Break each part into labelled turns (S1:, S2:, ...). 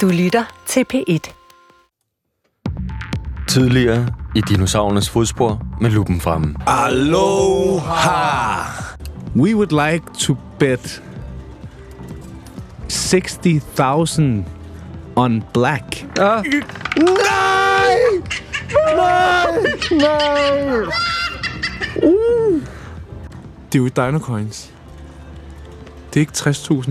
S1: Du lytter til P1.
S2: Tidligere i dinosaurernes fodspor med lupen fremme.
S3: Aloha!
S4: We would like to bet 60,000 on black.
S3: Nej! Nej! Nej! Uh.
S4: Uh.
S3: Det er jo Dinocoins. Det er ikke 60.000.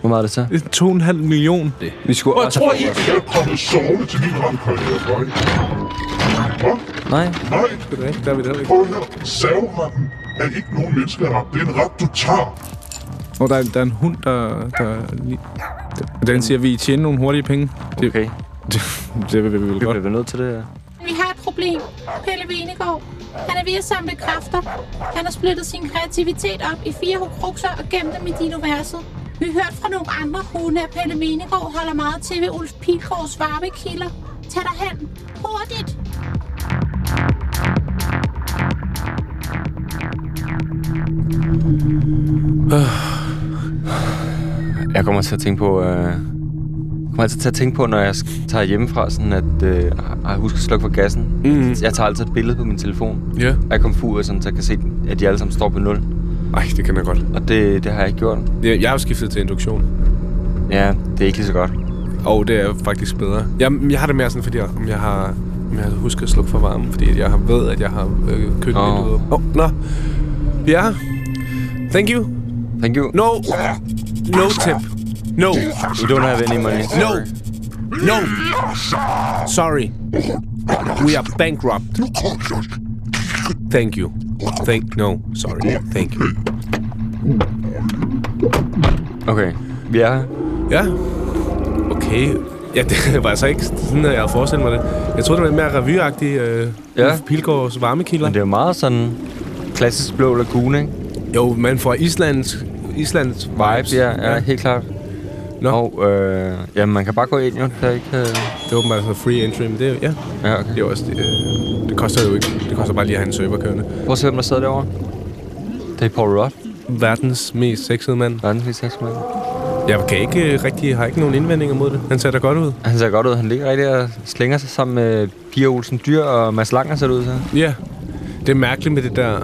S2: Hvor meget er det så?
S4: Det er 2,5 million.
S2: Vi skulle også...
S3: tror I?
S5: Jeg kommer sovende til min ramkarriere, nej.
S2: Nej,
S5: Nej,
S4: Der er vi der ikke.
S5: prøv her. Savretten er ikke nogen menneskeret. Det er en ret, du tager.
S4: Og der, er- der er en hund, der... der lige- den siger, at vi tjener nogle hurtige penge. Det,
S2: okay.
S4: det, det vil vi vel
S2: Bliver
S4: godt.
S2: vi nødt til det her?
S6: Vi har et problem. Pelle Venegård. Han er ved at samle kræfter. Han har splittet sin kreativitet op i fire hukrukser og gemt dem i dinoverset. Vi hørte fra nogle andre hunde, at Pelle Venegård holder meget til ved Ulf Pilgaards varmekilder. Tag dig hen. Hurtigt.
S2: Jeg kommer til at tænke på... Øh... Jeg kommer altid til at tænke på, når jeg sk- tager hjemmefra, sådan at øh, jeg husker at slukke for gassen. Mm. Jeg tager altid et billede på min telefon.
S3: Ja.
S2: Og jeg kommer fuld ud, sådan, så jeg kan se, at de alle sammen står på 0.
S3: Ej, det kan jeg godt.
S2: Og det, det har jeg ikke gjort.
S4: Jeg, jeg har jo skiftet til induktion.
S2: Ja, det er ikke lige så godt.
S4: Og det er faktisk bedre.
S3: Jeg, jeg har det mere sådan, fordi jeg, om jeg har om jeg husker at slukke for varmen, fordi jeg har ved, at jeg har øh, køkkenvinduet.
S2: Åh.
S3: Åh, oh. nå. Ja. Thank you.
S2: Thank you.
S3: No. No tip. No.
S2: You don't have any money.
S3: No. No.
S4: Sorry. We are bankrupt. Thank you.
S3: Thank no. Sorry. Thank you.
S2: Okay. Vi er her.
S3: Ja. Okay. Ja, det var altså ikke sådan, at jeg havde forestillet mig det. Jeg troede, det var mere revyagtigt. Øh,
S2: Ja.
S3: ja. Pilgaards varmekilder.
S2: Men det er jo meget sådan klassisk blå lagune, ikke?
S3: Jo, man får Islands, Islands vibes.
S2: Ja, ja, ja, helt klart.
S3: Nå.
S2: Og, øh, jamen, man kan bare gå ind, jo. Der er ikke... Øh...
S3: Det er åbenbart sådan free entry, men det, er- ja,
S2: Ja, okay.
S3: det er også... Det, øh, det koster jo ikke. Det koster bare lige at have en server kørende.
S2: Prøv at se, hvem der sidder derovre. Det er Paul Rudd,
S3: Verdens mest sexede mand.
S2: verdens mand.
S3: Jeg kan ikke øh, rigtig... har ikke nogen indvendinger mod det. Han ser da godt ud.
S2: Han ser godt ud. Han ligger rigtig og slænger sig sammen med Pia Olsen Dyr og Mads Langer ser det ud til.
S3: Ja. Det er mærkeligt med det der...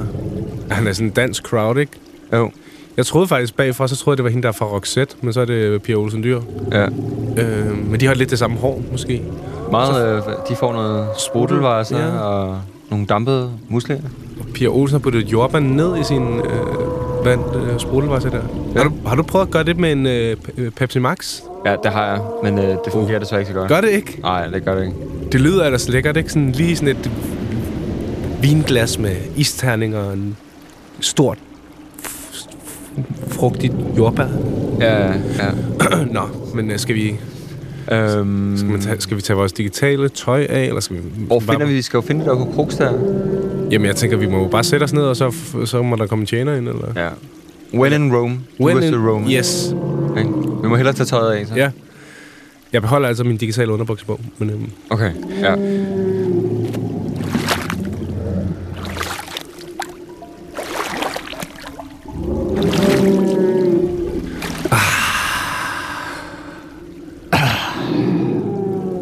S3: Han er sådan en dansk crowd, ikke?
S2: Jo.
S3: Jeg troede faktisk bagfra, så troede jeg, det var hende, der er fra Roxette, men så er det Pia Olsen Dyr.
S2: Ja.
S3: Øh, men de har lidt det samme hår, måske.
S2: Meget, øh, de får noget sprutelvejser ja.
S3: Ja.
S2: og nogle dampede muslinger.
S3: Pia Olsen har puttet jordbær ned i sin øh, vand, øh, sprutelvejse der. Ja. Har, du, har du prøvet at gøre det med en øh, Pe- øh, Pepsi Max?
S2: Ja, det har jeg, men øh, det fungerer uh. desværre ikke så godt.
S3: Gør det ikke?
S2: Nej, det gør det ikke.
S3: Det lyder ellers lækkert, ikke? Sådan lige sådan et vinglas med isterning og en stort f- f- frugtigt jordbær.
S2: Ja, ja.
S3: Nå, men øh, skal vi,
S2: Øhm,
S3: skal, man tage, skal vi tage vores digitale tøj af, eller skal vi...
S2: hvor finder vi? Vi skal jo finde det der hukruks der.
S3: Jamen, jeg tænker, vi må jo bare sætte os ned, og så, f- så må der komme en tjener ind, eller...
S2: Ja. When in Rome. Du When in... Rome.
S3: Yes.
S2: Ikke? Vi må hellere tage tøjet af, så.
S3: Ja. Jeg beholder altså min digitale underbukse på, men øhm,
S2: Okay, ja.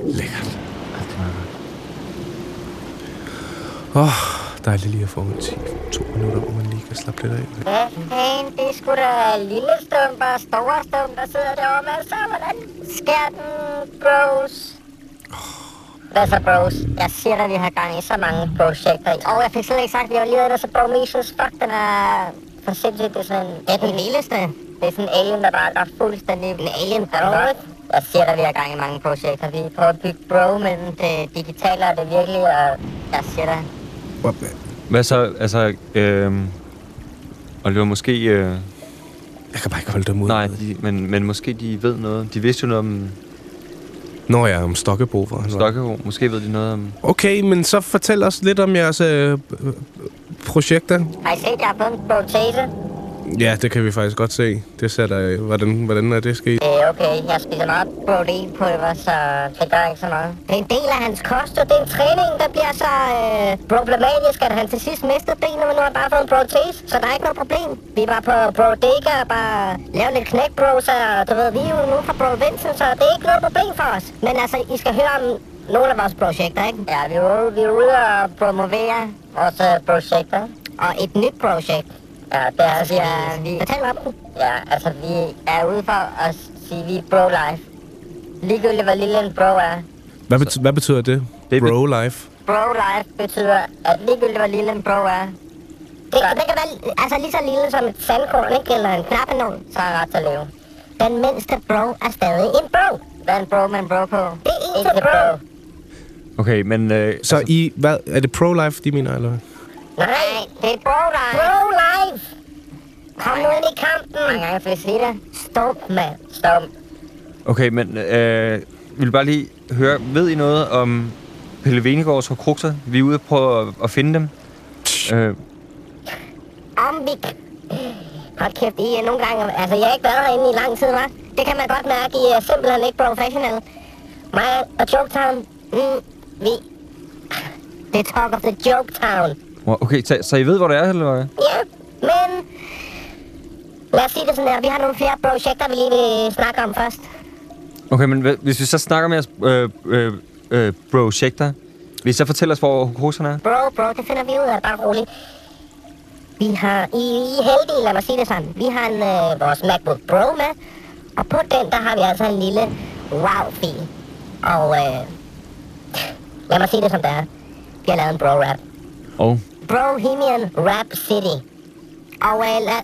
S3: Lækkert. Åh, oh, dejligt lige at få en 10-2 minutter, hvor man lige kan slappe lidt af.
S7: Fan, det er sgu da lille stump og store stump, der sidder derovre med så hvordan sker den, bros? Hvad så, bros? Jeg siger dig, vi har gang i så mange projekter. Og jeg fik slet ikke sagt, at jeg var lige inde, så Bromesius, fuck, den er for sindssygt. Det er sådan en... Det er den vildeste. Det er sådan en alien, der bare går fuldstændig... En alien, der er Jeg siger dig, vi har gang i mange projekter. Vi prøver at bygge bro mellem det digitale og det virkelige, og jeg siger dig,
S2: Hvad så? Altså, øhm, Oliver, måske... Øh,
S3: Jeg kan bare ikke holde dem ud.
S2: nej, de, men, men måske de ved noget. De vidste jo noget om
S3: Nå ja, om Stokkebo, hvor han var.
S2: Stokkebo. Måske ved de noget om...
S3: Okay, men så fortæl os lidt om jeres øh, øh, projekter.
S7: har I set, jeg har fået en protese?
S3: Ja, det kan vi faktisk godt se. Det sætter, hvordan, hvordan er det sket?
S7: Det er okay, jeg spiser meget proteinpulver, så det gør ikke så meget. Det er en del af hans kost, og det er en træning, der bliver så øh, problematisk, at han til sidst mistede benet, men nu har han bare fået en protese, så der er ikke noget problem. Vi var på Brodega og bare lavede lidt knækbroser, og du ved, vi er jo nu fra provinsen, så det er ikke noget problem for os. Men altså, I skal høre om nogle af vores projekter, ikke? Ja, vi er ude, vi er ude og promovere vores øh, projekter. Og et nyt projekt, Ja, det er altså, ja, vi... Fortæl mig om den. Ja, altså, vi er ude for at sige, vi er pro-life. Ligegyldigt, hvor lille en bro er.
S3: Hvad, bet- hvad betyder det?
S2: Det-
S3: Bro life.
S7: Pro-life betyder, at ligegyldigt, hvor lille en bro er. Det, det kan være altså, lige så lille som et sandkorn, ikke? Eller en knappenon, så er ret til at leve. Den mindste bro er stadig en bro. Hvad er en bro med en bro på? Det er ikke en bro.
S2: Okay, men... Øh,
S3: Så I, hvad, er det pro life, de mener, eller hvad?
S7: Nej, det er pro-life. Pro-life! Kom nu ind i kampen. Mange gange får jeg sige det. Stump, mand. Stump.
S2: Okay, men øh, vi vil bare lige høre, ved I noget om Pelle Venegårds horcruxer? Vi er ude på at, at finde dem. Øh,
S7: om vi... Hold kæft, I er nogle gange... Altså, jeg har ikke været herinde i lang tid, hva'? Det kan man godt mærke, I er simpelthen ikke professionelle. Mig og Joke Town, mm, vi... Det er talk of the Joke Town.
S2: okay, så, så I ved, hvor det er, eller hvad?
S7: Ja, men... Lad os sige det sådan her. Vi har nogle flere projekter, vi lige vil snakke om først.
S2: Okay, men hva- hvis vi så snakker med jeres øh, øh, øh, projekter, vil I så fortælle os, hvor horcruxerne er?
S7: Bro, bro, det finder vi ud af. Bare roligt. Vi har... I, I er heldige, lad mig sige det sådan. Vi har en, øh, vores MacBook Pro med, og på den, der har vi altså en lille wow-fil. Og øh, lad mig sige det som det er. Vi har lavet en bro-rap.
S2: Og oh.
S7: Brohemian Rap City. Og øh, lad...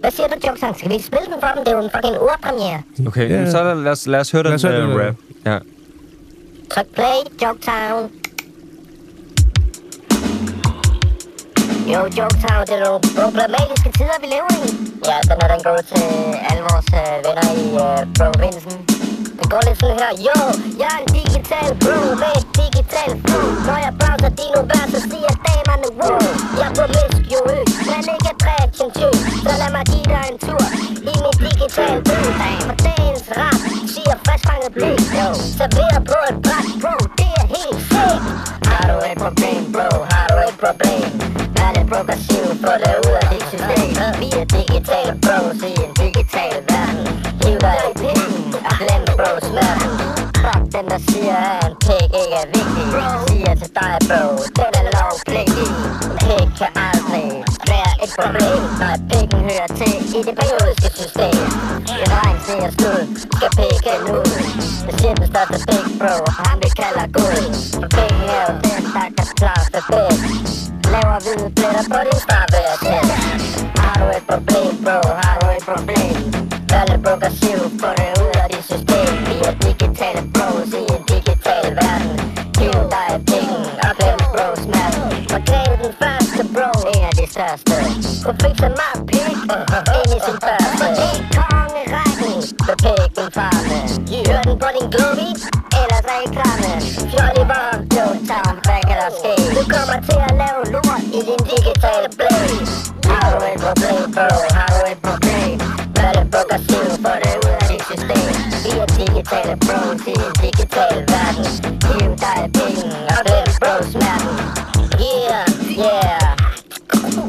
S7: Hvad siger du, Jokesang? Skal vi spille den for dem? Det er jo en fucking urpremiere.
S2: okay,
S3: Ja.
S2: yeah. så lad os, lad os høre den
S3: os høre
S2: øh,
S3: den, øh.
S2: rap. Ja.
S7: Tryk play, Joketown. Jo, Joketown, det er nogle problematiske tider, vi lever i. Ja, den er den går til alle vores øh, venner i øh, provinsen. Det går lidt sådan her. Jo, jeg er en digital bro med et digital flu. Når jeg browser dine vers, så siger damerne wow. Jeg er promiskuøs, men ikke prætentiøs. Så lad mig give dig en tur i min digitale by. For dagens rap siger friskfanget blik. Jo, serveret på et bræt, bro. Det er helt fedt. Har du et problem, bro? Har du et problem? Er det progressivt? Få det ud af dit system. Vi er digitale bros i en digital verden. Hiv dig i pinden og glem bro smerten. Fuck den, der siger, at en pik ikke er vigtig. Siger til dig, bro, den er lovpligtig. En pik kan aldrig være et problem, når pikken hører til i det periodiske system. I regn ser snud, skal pikken ud. Det siger den største pik, bro, ham vi kalder Gud. For pikken er jo den, der kan klare sig bedst. Laver hvide pletter på din starværdtest Har du et problem, bro? Har du et problem? Gør det progressiv, få det ud af dit system Vi er digitale bros i en digital verden Giv dig et penge og glem bros mad Forklæd den første bro, en af de største Hun fik så meget pik ind i sin første En kongerækken, så pik din farme Hør den på din globi, ellers er I klamme Fjol i vogn, blå tarm, hvad kan der ske? Du kommer til at lave lort i din digitale blæs Har du et problem, bro? Har du et problem? Hvad det bukker sig for det ud af dit system? Vi er digitale bros i en digital verden Giv dig et penge og glem bro smerten Yeah, yeah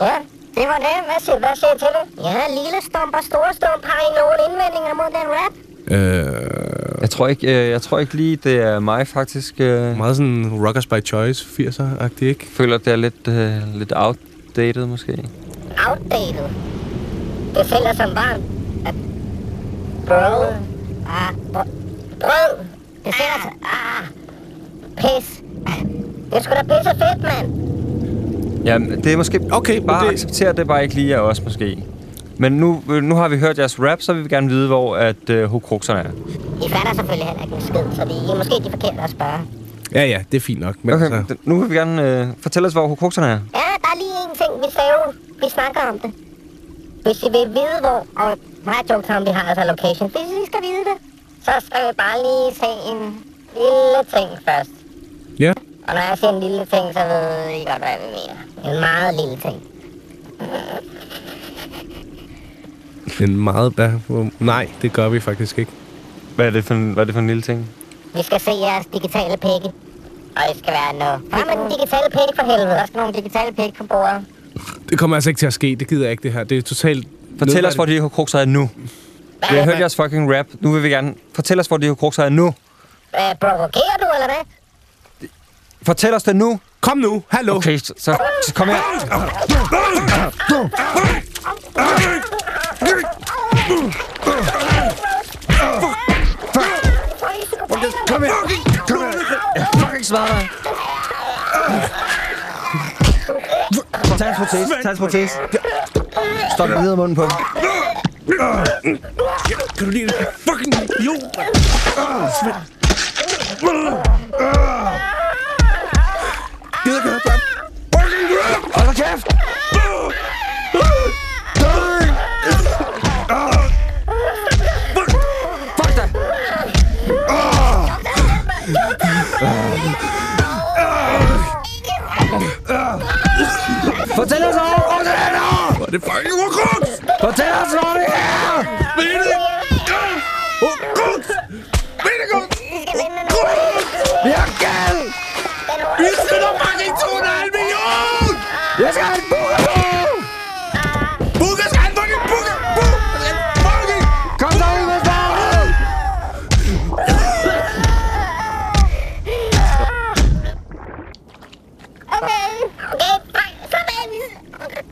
S7: Ja, det var det. Hvad siger, hvad siger I til det? Ja, lille stump og store stump har I nogle indvendinger mod den rap?
S4: Øh,
S2: Jeg, tror ikke, øh, jeg tror ikke lige, det er mig faktisk. Øh,
S3: Meget sådan rockers by choice, 80'er-agtigt, ikke?
S2: føler, det er lidt, øh, lidt outdated måske.
S7: Outdated. Det sælger som varmt. at- Bro. Ah, br- brød. Det sælger som... Ah, pis. Det er sgu da pisse fedt, mand.
S2: Ja, det er måske
S3: Okay, men
S2: bare
S3: det-
S2: det... acceptere, at det bare ikke lige er os måske. Men nu, øh, nu har vi hørt jeres rap, så vil vi gerne vide, hvor at øh, hukrukserne er.
S7: I fatter selvfølgelig heller ikke en skid, så det er måske de forkerte at spørge.
S3: Ja, ja, det er fint nok. Men
S2: Okay,
S3: altså,
S2: d- nu vil vi gerne øh, fortælle os, hvor hukrukserne er.
S7: Ja, der er lige en ting, vi sagde jo. Vi snakker om det. Hvis I vil vide, hvor... Og mig og Joe Tom, vi har altså location. Hvis I skal vide det, så skal vi bare lige se en lille ting først.
S4: Ja.
S7: Og når jeg siger en lille ting, så ved I godt, hvad vi mener. En meget lille ting.
S3: en meget... Hvad, hvor- nej, det gør vi faktisk ikke.
S2: Hvad er det for en, hvad er det for en lille ting?
S7: Vi skal se jeres digitale pikke. Og I skal være noget. Frem med den digitale pikke for helvede. Der skal nogle digitale pikke på bordet.
S3: Det kommer altså ikke til at ske. Det gider jeg ikke, det her. Det er totalt...
S2: Fortæl os, hvor de hukrukserne er nu.
S7: Hvad,
S2: Vi har hørt jeres fucking rap. Nu vil vi gerne... Fortæl os, hvor de hukrukserne er nu.
S7: øh, provokerer du, eller hvad?
S2: Fortæl os det nu.
S3: Kom nu! Hallo!
S2: Okay, så, så, så kom her.
S7: Kom her! Kom her!
S2: Fucking svar dig. Tag hans protese. Tag hans protese. Stop videre munden på. ham.
S3: Kan du lide det? Fucking idiot!
S2: Hold da kæft! Fuck dig! Fortæl os, hvor hvor det er!
S4: Og det er fucking ukrudt!
S2: Fortæl os, hvor det er!
S4: Ukrudt! Vindegut!
S7: I skal vinde nu!
S2: Vi har gæld!
S4: Vi skynder fucking 2,5 millioner!
S2: Jeg skal have en bukker på!
S4: Bukke skal han fucking bukke! Bukke! Fucking!
S2: Kom så ud med stedet!
S7: Okay, okay, nej, slap af.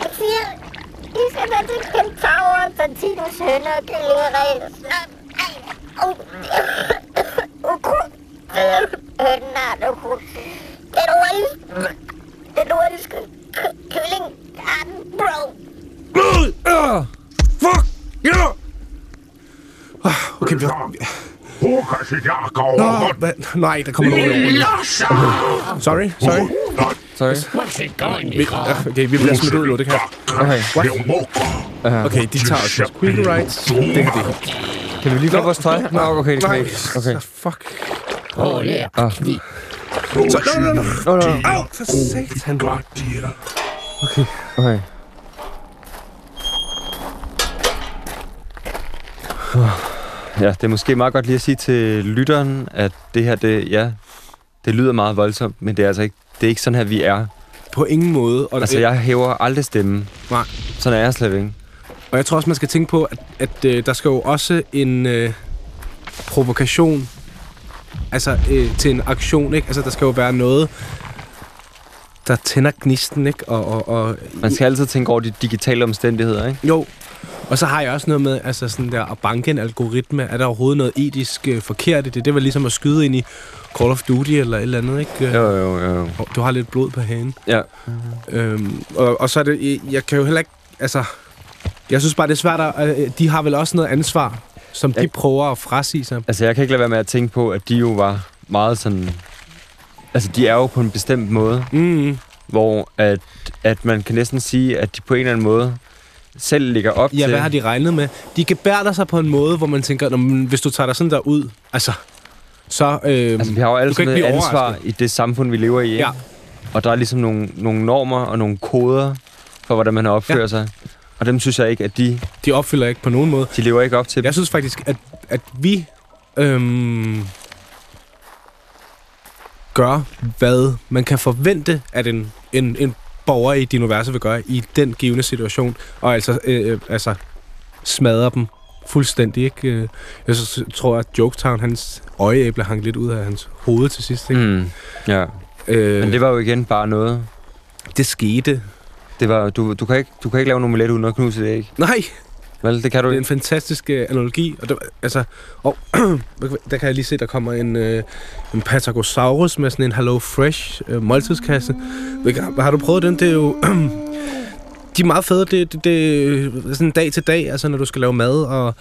S7: Jeg siger, I skal være til kentaurer, Santinos hønne og kyllingeræs. Slap af. Au. Ukrudt. Øh, Hønnen har et ukrudt. Den nordiske, den nordiske ky- kylling har den, bro.
S3: Øh,
S4: Fuck! Ja!
S3: Ah,
S4: Okay, vi har...
S5: Hukasi Jakov.
S3: Nå, Ah, hvad? Nej, der kommer nogen over. Sorry, sorry.
S2: Sorry.
S3: Vi, ah, okay, vi bliver smidt ud nu, det kan jeg.
S2: Okay.
S3: Okay, de tager os. Quick rights. Det kan det.
S2: Kan vi lige få vores tøj? Nå, okay, det kan vi ikke. Okay.
S3: Så fuck.
S2: Ah.
S3: Så, no, no, no.
S2: Nå, nå, nå.
S3: Au, for satan.
S2: Okay. Ja, det er måske meget godt lige at sige til lytteren, at det her, det, ja, det lyder meget voldsomt, men det er altså ikke, det er ikke sådan her, vi er.
S3: På ingen måde. Og,
S2: Altså, jeg hæver aldrig stemmen.
S3: Nej.
S2: Sådan er jeg slet ikke.
S3: Og jeg tror også, man skal tænke på, at, at øh, der skal jo også en øh, provokation altså, øh, til en aktion. Ikke? Altså, der skal jo være noget, der tænder gnisten. Ikke? Og, og, og,
S2: Man skal altid tænke over de digitale omstændigheder, ikke?
S3: jo, og så har jeg også noget med, altså sådan der, at banke en algoritme, er der overhovedet noget etisk øh, forkert i det? Det var ligesom at skyde ind i Call of Duty eller et eller andet, ikke?
S2: Jo, jo, jo. jo.
S3: Du har lidt blod på hagen.
S2: Ja.
S3: Øhm, og, og så er det, jeg kan jo heller ikke, altså, jeg synes bare, det er svært, at, øh, de har vel også noget ansvar, som de
S2: Ja.
S3: prøver at frasige sig.
S2: Altså, jeg kan ikke lade være med at tænke på, at de jo var meget sådan... Altså, de er jo på en bestemt måde. Mm-hmm.
S3: Mm.
S2: hvor at, at man kan næsten sige, at de på en eller anden måde selv ligger op
S3: Ja,
S2: til...
S3: hvad har de regnet med? De gebærder sig på en måde, hvor man tænker, "Nå, men hvis du tager dig sådan der ud, altså, så... Øhm,
S2: Altså, vi har jo alle
S3: du kan
S2: sammen et
S3: ikke blive
S2: ansvar
S3: overrasket.
S2: i det samfund, vi lever i, ikke?
S3: Ja.
S2: Og der er ligesom nogle, nogle normer og nogle koder for, hvordan man opfører
S3: Ja.
S2: ja. sig. Og dem synes jeg ikke, at de,
S3: de opfylder ikke på nogen måde.
S2: de lever ikke op til.
S3: Jeg synes faktisk, at, at vi øhm, gør, hvad man kan forvente, at en, en, en borger i din universe vil gøre i den givende situation, og altså, øh, øh, altså smadrer dem fuldstændig. Ikke? Øh, Jeg synes- tror, at Joketown, hans øjeæble hang lidt ud af hans hoved til sidst. Ikke?
S2: Mm. Ja.
S3: Mm. Øh,
S2: Men
S3: det,
S2: det var jo igen bare noget.
S3: det skete.
S2: Det var, du, du, kan ikke, du kan ikke lave en omelet uden at knuse det, ikke?
S3: Nej,
S2: Vel, det kan du
S3: Det er en
S2: ikke.
S3: fantastisk øh, analogi. Og det, altså, og der kan jeg lige se, der kommer en, øh, en Patagosaurus med sådan en Hello Fresh øh, måltidskasse. Hvilket- Har du prøvet den? Det er jo... de er meget fede. Det, det, det er sådan dag til dag, altså når du skal lave mad og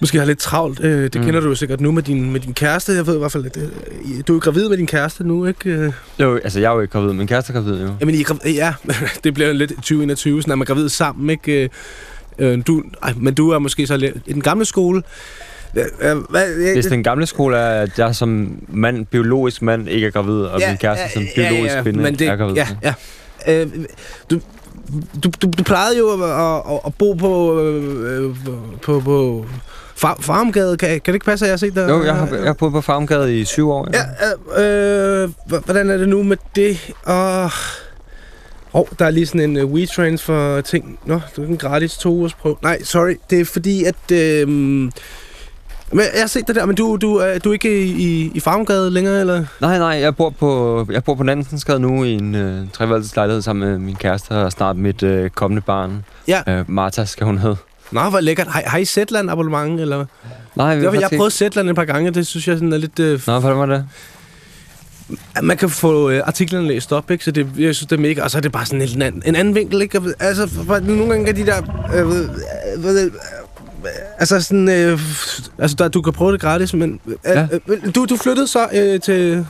S3: måske har lidt travlt. Øh, det mm. kender du jo sikkert nu med din, med din kæreste. Jeg ved i hvert fald, at øh, I- du er gravid med din kæreste nu, ikke? Øh,
S2: Jo, altså jeg er jo ikke gravid, min kæreste er gravid jo.
S3: Jamen, I er gravid, ja, det bliver jo lidt 2021, sådan at man er gravid sammen, ikke? Øh, Øh, du, ej, men du er måske så lidt i den gamle skole. Øh, øh, Hvad, øh,
S2: Hvis den gamle skole er, at jeg som mand, biologisk mand, ikke er gravid, og min kæreste som biologisk kvinde
S3: men det,
S2: er gravid.
S3: Ja, ja. Øh, du, du, du, du plejede jo at, at, at bo på, øh, øh, på, på far, Farmgade. Kan, kan det ikke passe, at jeg har set dig?
S2: Jo, jeg har, jeg har boet på Farmgade i syv år.
S3: Ja, øh, øh, h- hvordan er det nu med det? Og... Åh, oh, der er lige sådan en uh, WeTransfer ting. Nå, det er en gratis to ugers prøve. Nej, sorry. Det er fordi, at... Øh, men jeg har set det der, men du, du, er, du er ikke i, i, i Farmgade længere, eller?
S2: Nej, nej, jeg bor på, jeg bor på Nansensgade nu i en øh, treværelseslejlighed sammen med min kæreste og snart mit øh, kommende barn.
S3: Ja.
S2: Øh, Martha skal hun hedde.
S3: Nå, hvor lækkert. Har, har I Zetland abonnement, eller? hvad?
S2: Nej,
S3: Jeg, jeg
S2: faktisk
S3: har
S2: ikke-
S3: prøvet Zetland et par gange, og det synes jeg sådan er lidt... Øh,
S2: Nå, hvordan var det?
S3: at man kan få øh, artiklerne læst op, ikke? Så det, jeg synes, det er mega... Og så er det bare sådan en, anden, en anden vinkel, ikke? Og, Altså, for, for, nogle gange kan de der... Øh, ved- øh, ved- øh, altså sådan... Øh, altså, der, du kan prøve det gratis, men... Øh,
S2: Ja.
S3: ja. øh, du, du flyttede så øh, til...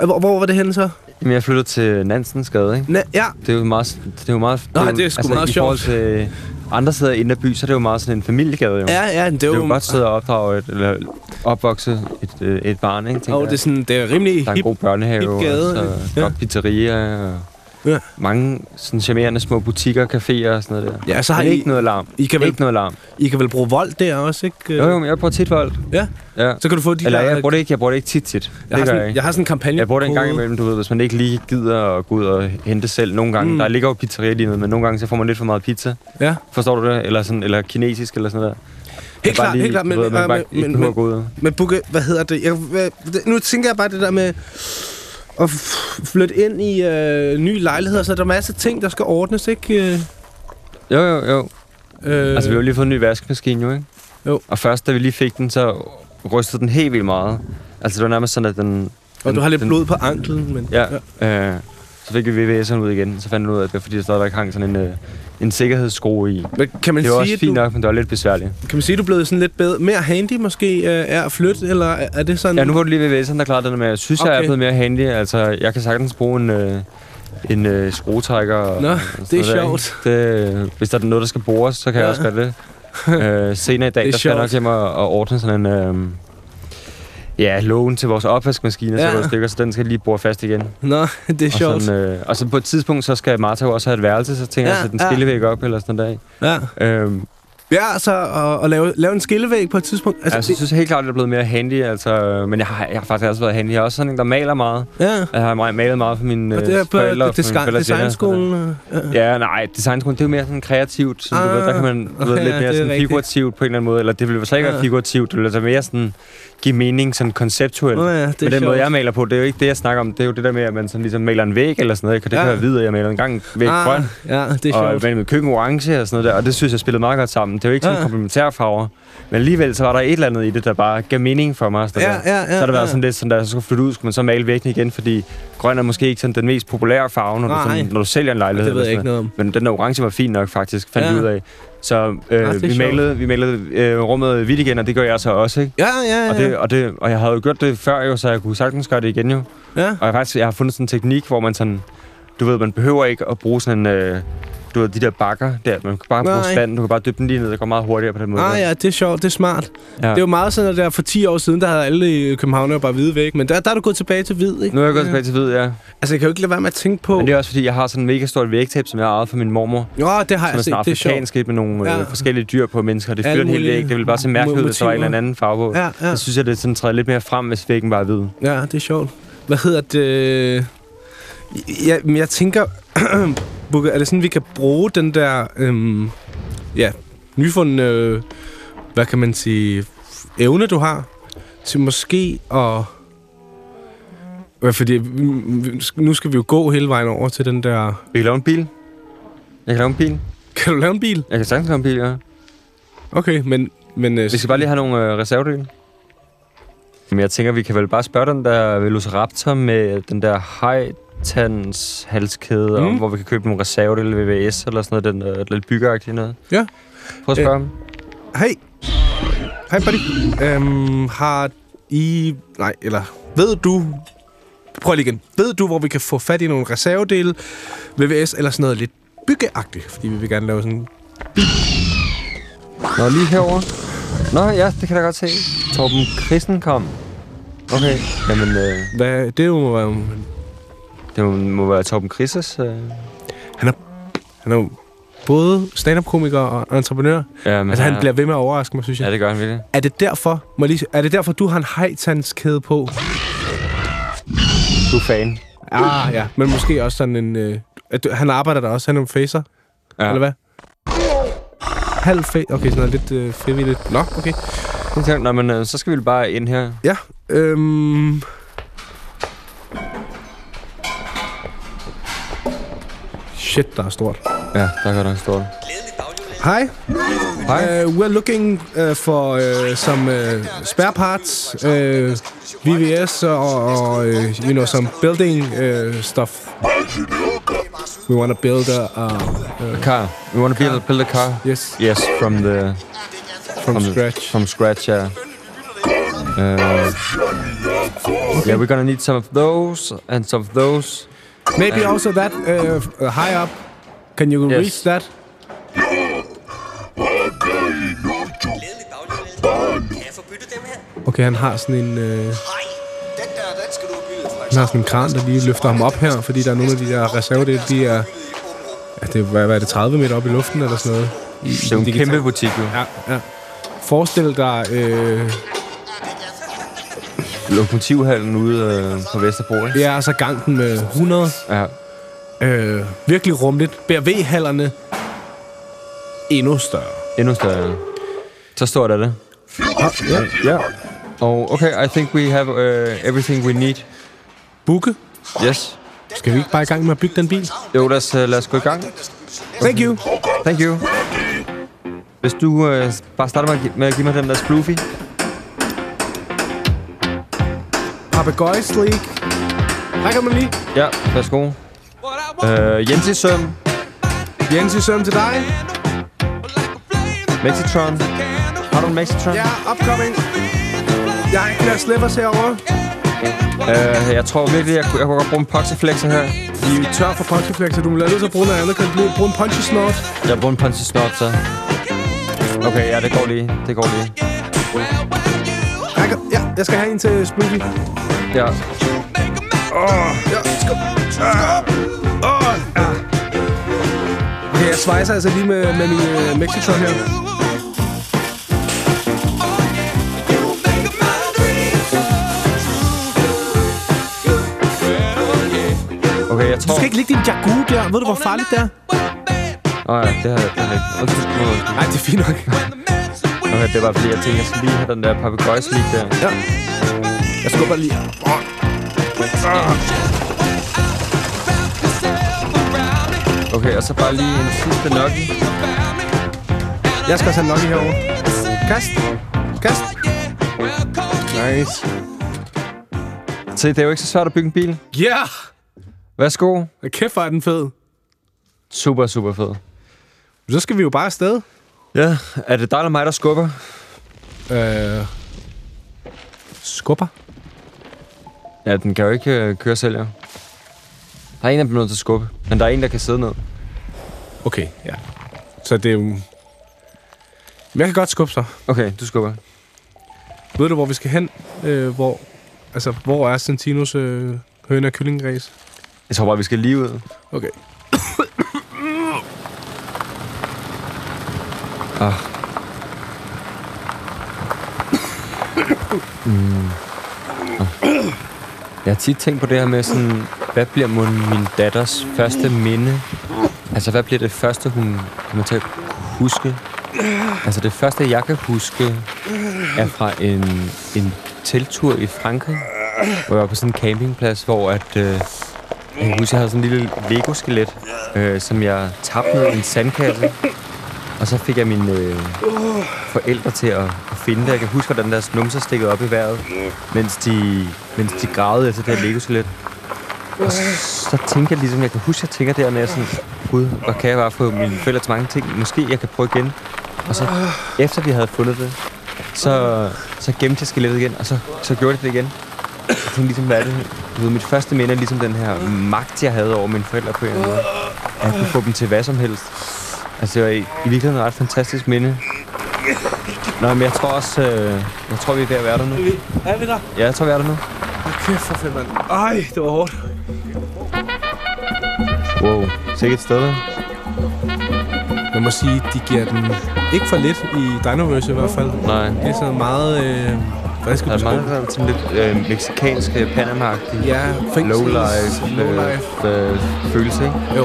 S3: øh, Hvor, hvor var det henne så?
S2: Jamen, jeg flyttede til Nansensgade, ikke?
S3: Na, ja,
S2: Det er jo meget... Det er jo meget
S3: Nå,
S2: jo-
S3: det er sgu meget
S2: I forhold til andre steder i indre by, så er det jo meget sådan en familiegade, jo.
S3: ja, ja, det
S2: Det
S3: var
S2: er jo godt sted at opdrage et, eller opvokse et, øh, et barn, ikke? tænker
S3: Og det er
S2: jeg.
S3: sådan, det er rimelig
S2: der er en
S3: hip.
S2: god børnehave,
S3: hip gade,
S2: og
S3: ikke?
S2: så
S3: Ja.
S2: godt pizzeria, og
S3: Ja.
S2: mange sådan charmerende små butikker, caféer og sådan noget der.
S3: Ja, så har
S2: Men
S3: I-
S2: ikke noget larm.
S3: I kan vel-
S2: Ikke noget larm.
S3: I kan vel bruge vold der også, ikke?
S2: Jo, jo, men jeg bruger tit vold.
S3: Ja,
S2: Ja.
S3: så kan du få de
S2: Eller
S3: der...
S2: jeg bruger det ikke, jeg bruger det ikke tit tit.
S3: jeg, har
S2: det gør
S3: sådan,
S2: jeg
S3: jeg,
S2: ikke.
S3: har sådan en kampagne.
S2: Jeg bruger det en gang imellem, du ved, hvis man ikke lige gider at gå ud og hente selv nogle gange.
S3: Mm.
S2: Mm. Der ligger jo pizzeria lige nu, men nogle gange så får man lidt for meget pizza.
S3: Ja.
S2: Forstår du det? Eller, sådan, eller kinesisk eller sådan noget der.
S3: Helt klart, helt klart.
S2: Men, ved, man
S3: øh,
S2: bare ikke
S3: men-
S2: behøver at gå ud.
S3: Men Bukke, hvad hedder det? Jeg, hvad, det- nu tænker jeg bare det der med at f- flytte ind i øh, nye lejligheder, så der er masser af ting, der skal ordnes, ikke? Øh,
S2: Jo, jo, jo.
S3: øh,
S2: Altså, vi har jo lige fået en ny vaskemaskine, jo, ikke?
S3: Jo.
S2: Og først, da vi lige fik den, så rystede den helt vildt meget. Altså, det var nærmest sådan, at den...
S3: og
S2: den,
S3: du har lidt
S2: den,
S3: blod på anklen, men...
S2: Ja. Øh, så fik vi VVS'eren ud igen. Så fandt vi ud af, at det var, fordi der stadigvæk hang sådan en, øh, en sikkerhedsskrue i.
S3: Men kan man,
S2: det var
S3: sige,
S2: også
S3: at
S2: fint
S3: du,
S2: nok, men det var lidt besværligt.
S3: kan man sige, at du er blevet sådan lidt bedre, mere handy måske øh, er at flytte, eller er er det sådan...
S2: Ja, nu var det lige VVS'eren, der klarede den med. Jeg synes, okay. jeg er
S3: Okay.
S2: blevet mere handy. Altså, jeg kan sagtens bruge en, øh, en øh, skruetrækker. og-
S3: Nå,
S2: og sådan
S3: det er
S2: noget
S3: sjovt.
S2: Der, ikke? det, øh, hvis der er noget, der skal bores, så kan ja.
S3: Ja.
S2: jeg også gøre det. øh, senere i dag,
S3: Det er
S2: der skal jeg
S3: sjovt.
S2: nok hjem og, og ordne sådan en... Øh, ja, lågen til vores opvaskemaskine, ja.
S3: Ja.
S2: så der stykker, så den skal lige bore fast igen.
S3: Nå, det er
S2: og,
S3: sjovt.
S2: sådan, øh, og så på et tidspunkt, så skal Martha jo også have et værelse, så tænker
S3: Ja,
S2: ja, jeg, at den
S3: ja.
S2: skillevæg op eller sådan noget.
S3: Ja.
S2: Øh,
S3: ja, så at, at lave, lave en skillevæg på et tidspunkt.
S2: altså, jeg
S3: det,
S2: synes helt klart, at jeg er blevet mere handy, altså, øh, men jeg har, jeg har faktisk altid været handy. Jeg er også sådan en, der maler meget.
S3: ja.
S2: Jeg har ma- malet meget for mine
S3: Og
S2: øh,
S3: det er på
S2: forældre. og for mine
S3: design,
S2: forældres venner og sådan noget.
S3: designskolen. øh, Ja.
S2: Ja, nej, designskolen, det er jo mere sådan kreativt. Sådan, du ved, der kan man
S3: Ah,
S2: du ved,
S3: okay,
S2: lidt
S3: ja,
S2: mere
S3: det er
S2: sådan
S3: rigtigt.
S2: figurativt på en eller anden måde. Eller det ville jo slet ikke
S3: Ja.
S2: være figurativt. Det ville altså mere sådan give mening sådan konceptuelt.
S3: Nå ja, det er
S2: Men den
S3: sjovt.
S2: måde, jeg maler på, det er jo ikke det, jeg snakker om. Det er jo det der med, at man sådan ligesom maler en væg eller sådan noget. ikke? Og det
S3: Ja.
S2: kan være hvid, og jeg maler en gang en væg ah, grøn.
S3: ja, det er
S2: Og
S3: sjovt. Ah.
S2: med, med køkken orange og sådan noget der. Og det synes jeg spillede meget godt sammen. Det er jo ikke sådan
S3: Ja.
S2: ja. komplementære farver. Men alligevel, så var der et eller andet i det, der bare gav mening for mig. og Sådan
S3: Ja,
S2: der.
S3: ja, ja,
S2: så har det været
S3: ja.
S2: sådan lidt sådan, der så skulle flytte ud, skulle man så male væggen igen, fordi grøn er måske ikke sådan den mest populære farve, når, du,
S3: Nej.
S2: sådan, når du sælger en lejlighed.
S3: Det ved
S2: eller
S3: jeg ikke
S2: sådan
S3: noget om.
S2: men den der orange var fin nok faktisk, fandt
S3: Ja.
S2: vi ud af. Så
S3: Ah, det er
S2: øh, vi,
S3: sjovt.
S2: malede, vi malede øh, rummet hvidt igen, og det gør jeg så også, ikke?
S3: Ja, ja, ja.
S2: Og, det, og, det, og jeg havde jo gjort det før jo, så jeg kunne sagtens gøre det igen jo.
S3: ja.
S2: Og jeg, faktisk, jeg har fundet sådan en teknik, hvor man sådan... Du ved, man behøver ikke at bruge sådan en... Øh, du ved, de der bakker der. Man kan bare bruge
S3: Nej.
S2: spanden. Du kan bare dyppe den lige ned. Det går meget hurtigere på den måde.
S3: Ah ja, det er sjovt, det er smart. Ja. Det er jo meget sådan, at der for 10 år siden, der havde alle i København bare hvide væg, men der, der er du gået tilbage til hvid, ikke?
S2: Nu er jeg gået tilbage til hvid, ja.
S3: Altså, jeg kan jo ikke lade være med at tænke på...
S2: Men det er også fordi, jeg har sådan en mega stort vægtab, som jeg har arvet fra min mormor.
S3: Jo, det har
S2: Som er
S3: jeg set,
S2: sådan
S3: det er sjovt.
S2: afrikansk et med nogle
S3: Ja.
S2: øh, forskellige dyr på mennesker. Det
S3: Alle
S2: fylder en hel
S3: mulige
S2: væg. Det ville bare se mærkeligt ud, hvis der var en
S3: motiver.
S2: eller anden farve på.
S3: Ja, ja.
S2: Jeg synes, at det sådan træder lidt mere frem, hvis væggen bare er hvid.
S3: Ja, det er sjovt. Hvad hedder det? Jeg, men jeg tænker, Bukke, er det sådan, vi kan bruge den der, øhm, ja, nyfundne, øh, hvad kan man sige, evne, du har, til måske at... Ja, fordi vi- vi- nu skal vi jo gå hele vejen over til den der...
S2: Vi kan lave en bil. Jeg kan lave en bil.
S3: Kan du lave en bil?
S2: Jeg kan sagtens lave en bil, ja.
S3: Okay, men... men øh,
S2: Vi skal bare lige have nogle øh, reservedele. Men jeg tænker, vi kan vel bare spørge den der Velociraptor med den der hej tandens halskæde, mm.
S3: Mm.
S2: om, hvor vi kan købe nogle reservedele ved VVS eller sådan noget, den der lidt byggeagtige noget.
S3: Ja.
S2: Prøv at spørge ham.
S3: Hej. Hej, buddy. Øhm, har I... Nej, eller... Ved du... Prøv lige igen. Ved du, hvor vi kan få fat i nogle reservedele, VVS eller sådan noget lidt byggeagtigt? Fordi vi vil gerne lave sådan...
S2: Nå, lige herover. Nå, ja, det kan jeg da godt se. Torben Christen kom. Okay, jamen, øh,
S3: Hvad, det er jo... Øhm,
S2: det må, må være Torben Christes. Øh.
S3: han, er, han er jo både stand-up-komiker og entreprenør.
S2: Ja, men
S3: Altså, han bliver ved med at overraske mig, synes jeg.
S2: Ja, det gør han virkelig.
S3: Er det derfor, må jeg lige, er det derfor du har en hejtandskæde på?
S2: Du er fan.
S3: Ah, ja. Men måske også sådan en... Øh, at du, han arbejder der også. Han er en facer,
S2: Ja.
S3: ja. eller hvad? Halv fa... Okay, sådan noget lidt øh, frivilligt. Nå, okay.
S2: Det tænkte, Nå, men øh, så skal vi bare ind her.
S3: Ja, øhm... Shit, der er stort.
S2: Ja, der kan der stå.
S3: Hi.
S2: Hej.
S3: Uh, we're looking uh, for uh, some uh, spare parts, uh, VVS og, og uh, you know some building uh, stuff. We want to build a uh,
S2: Car. We want to build, build a car.
S3: yes
S2: Yes, from the
S3: from
S2: the-
S3: scratch.
S2: from scratch, yeah. Uh, yeah, we're gonna need some of those and some of those.
S3: Maybe also that uh, f- uh, high up. Can you
S2: Yes.
S3: reach that?
S1: Kan jeg få byttet dem her?
S3: Okay, han har sådan en uh,
S1: Nej, den der, den skal du have byttet, Frederik.
S3: han har sådan en kran, der lige løfter ham op her, fordi der er nogle af de der reservedele, de er ja, det er, hvad, hvad er det 30 meter op i luften eller sådan noget. I, i
S2: Det er jo en
S3: digital-
S2: kæmpe butik, jo.
S3: Ja, ja. Forestil dig øh,
S2: Lokomotivhallen ude øh, på Vesterbro, ikke?
S3: Det er altså gangen med 100.
S2: Ja.
S3: Øh, virkelig rumligt. BRV-hallerne. Endnu større.
S2: Endnu større. Så stort er det.
S3: Ja, ja.
S2: Og okay, I think we have uh, everything we need.
S3: Bukke.
S2: Yes.
S3: Skal vi ikke bare i gang med at bygge den bil?
S2: Jo, lad os, øh, lad os gå i gang.
S3: Thank you.
S2: Thank you. Hvis du øh, bare starter med at, gi- med at give mig den der sploofy.
S3: Papagøjs League. Her kan man lige.
S2: Ja, værsgo. Øh, Jensi Søm,
S3: Jens, i søm til dig.
S2: Mexitron. Har du en Mexitron?
S3: Ja, upcoming. Jeg har ikke flere slippers herovre.
S2: Øh, jeg tror virkelig, jeg, kunne- jeg kunne godt bruge en poxiflexer her.
S3: Vi er tør for poncheflexer. Du må lade nødt til at bruge noget andet. Kan du bruge- bruge en ponchesnort?
S2: Jeg bruger en Ponzi Snort, så. Okay, ja, det går lige. Det går lige.
S3: Jeg, kan, ja, jeg skal have en til Spooky. Ah.
S2: Ja.
S3: Okay, jeg svejser altså lige med, med min øh, Mexitron her.
S2: Okay, jeg
S3: Du
S2: tror...
S3: skal ikke ligge din jagu der. Ved du, hvor farligt det er?
S2: Åh, ja, det har jeg det har jeg ikke. Undskyld, undskyld.
S3: Nej, det er fint nok.
S2: Okay, det var fordi, jeg tænkte, jeg skal lige have den der papegøjs lige der.
S3: Jeg skubber lige.
S2: Okay, og så bare lige en sidste nokkie.
S3: Jeg skal også have Lucky herovre. Kast. Kast. Nice.
S2: Se, det er jo ikke så svært at bygge en bil.
S3: Ja!
S2: Værsgo.
S3: Yeah! Kæft, hvor er den fed.
S2: Super, super fed.
S3: Så skal vi jo bare afsted.
S2: Ja, er det dig eller mig, der skubber?
S3: Øh. Skubber.
S2: Ja, den kan jo ikke øh, køre selv, jo. Der er en, der bliver nødt til at skubbe, men der er en, der kan sidde ned.
S3: Okay, ja. Så det er jo... Men jeg kan godt skubbe så.
S2: Okay, du skubber.
S3: Ved du, hvor vi skal hen? Øh, hvor... Altså, hvor er Santinos øh, høne- og kyllingræs?
S2: Jeg tror bare, vi skal lige ud.
S3: Okay.
S2: Jeg har tit tænkt på det her med sådan, hvad bliver mon min datters første minde? Altså, hvad bliver det første, hun kommer til at huske? Altså, det første, jeg kan huske, er fra en, en teltur i Frankrig, hvor jeg var på sådan en campingplads, hvor at, øh, jeg kan huske, jeg havde sådan en lille Lego-skelet, øh, som jeg tabte ned i en sandkasse. Og så fik jeg mine øh, forældre til at, at finde det. Jeg kan huske, hvordan deres numser stikkede op i vejret mens de, mens de gravede efter det her lego Og så tænker jeg ligesom, jeg kan huske, jeg tænker der, når jeg sådan, gud, hvor kan jeg bare få mine forældre til mange ting? Måske jeg kan prøve igen. Og så efter vi havde fundet det, så, så gemte jeg skelettet igen, og så, så gjorde jeg det igen. Jeg tænkte ligesom, hvad er det? Du ved, mit første minde er ligesom den her magt, jeg havde over mine forældre på en eller anden måde. At jeg kunne få dem til hvad som helst. Altså, det var i, i virkeligheden et ret fantastisk minde. Nå, men jeg tror også, øh, jeg tror, vi er ved at være der nu.
S3: Er vi der?
S2: Ja, jeg tror, vi er der nu.
S3: Kæft for fedt, mand. Ej, det var hårdt.
S2: Wow, sikkert et sted, hva'?
S3: Man må sige, de giver den ikke for lidt i Dinoverse i hvert fald.
S2: Nej.
S3: Det er sådan meget... Øh, hvad skal
S2: Der er
S3: man
S2: mange,
S3: sige?
S2: der er sådan lidt øh, mexikanske, panama
S3: Ja, fængsels...
S2: low-life, øh,
S3: Lowlife.
S2: øh, følelse, ikke?
S3: Jo.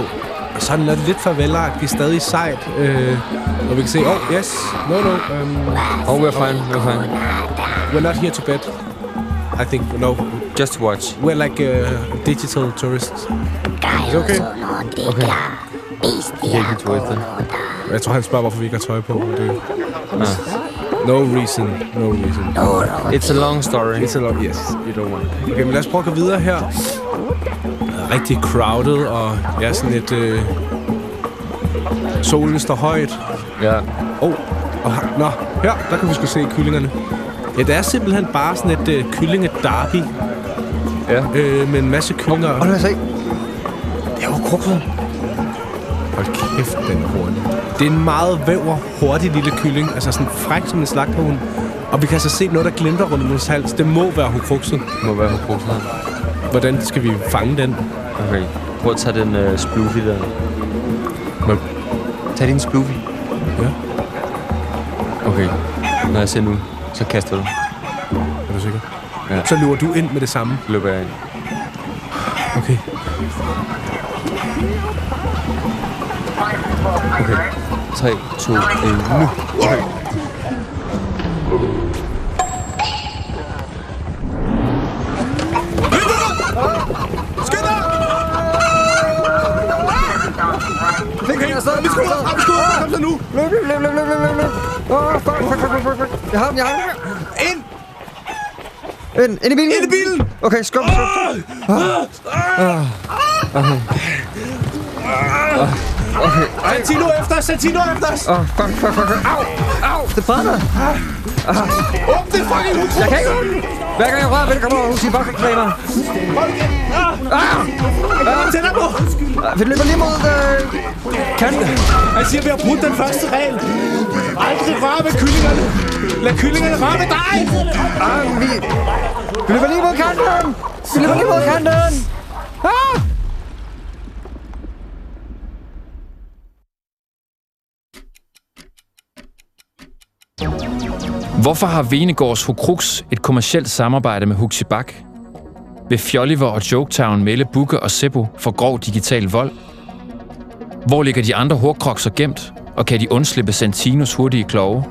S3: Og sådan noget lidt farvelagtigt, stadig sejt. Øh, og vi kan se, oh yes, no no, um,
S2: Oh, we're fine, we're fine.
S3: we're not here to bet. I think, no,
S2: Just watch.
S3: we're like uh, digital tourists.
S7: Dejligt,
S3: okay.
S7: det er klar. Bestier
S2: Helt twisted.
S3: Jeg tror, han spørger, hvorfor vi ikke har tøj på. men Det. No reason, no reason.
S2: It's a long story.
S3: It's a lot, yes, you don't want it. Okay, men lad os prøve at gå videre her. Rigtig crowded, og jeg er sådan lidt... Øh, solen står højt.
S2: Ja.
S3: Oh, og her, nå, her, der kan vi sgu se kyllingerne. Ja, det er simpelthen bare sådan et øh, kyllingedarby
S2: Ja.
S3: øh, med en masse kyllinger.
S2: Og nu har jeg se.
S3: det er jo krukket. Hold kæft, den er hurtig. Det er en meget væver, hurtig lille kylling. Altså sådan fræk som en slagthund. Og vi kan altså se noget, der glimter rundt om hendes hals. Det må være hukrukset.
S2: Må være på brugt her.
S3: Hvordan skal vi fange den?
S2: Okay. Prøv at tage den øh, sploofy der.
S3: Men
S2: Tag din sploofy.
S3: Ja.
S2: Okay. Når jeg ser nu, så kaster du.
S3: er du sikker?
S2: Ja.
S3: Så løber du ind med det samme.
S2: Så løber jeg ind.
S3: Okay.
S2: Okay. 3, 2, 1, nu.
S3: Kom så nu!
S8: Løb, løb, løb, løb, løb, løb, løb, løb. Åh, fuck, fuck, fuck, fuck, fuck. Jeg har den, jeg har den.
S3: Ind!
S8: Ind, ind i bilen.
S3: Ind i bilen!
S8: Okay, skub, skub.
S3: Santino efter os! Santino efter os!
S8: Åh, fuck, fuck, fuck, fuck. Au, au, det brænder.
S3: Åbn det fucking hukrukset!
S8: Jeg kan ikke åbne den. Hver gang jeg rører ved det, kommer hun og siger, fuck, fuck, fuck,
S3: Kom tættere på!
S8: Vi løber lige mod... Øh...
S3: Kan du? Han siger, vi har brudt den første regel. Aldrig rør ved kyllingerne. Lad kyllingerne røre ved dig.
S8: Ah, vi... Vi løber lige mod kanten. Vi løber lige mod kanten. Ah!
S9: Hvorfor har Venegårds Hukrux et kommercielt samarbejde med Huxibak? Vil Fjolliver og Joketown melde Bukke og Seppo for grov digital vold? Hvor ligger de andre horkrokser gemt, og kan de undslippe Santinos hurtige kloge?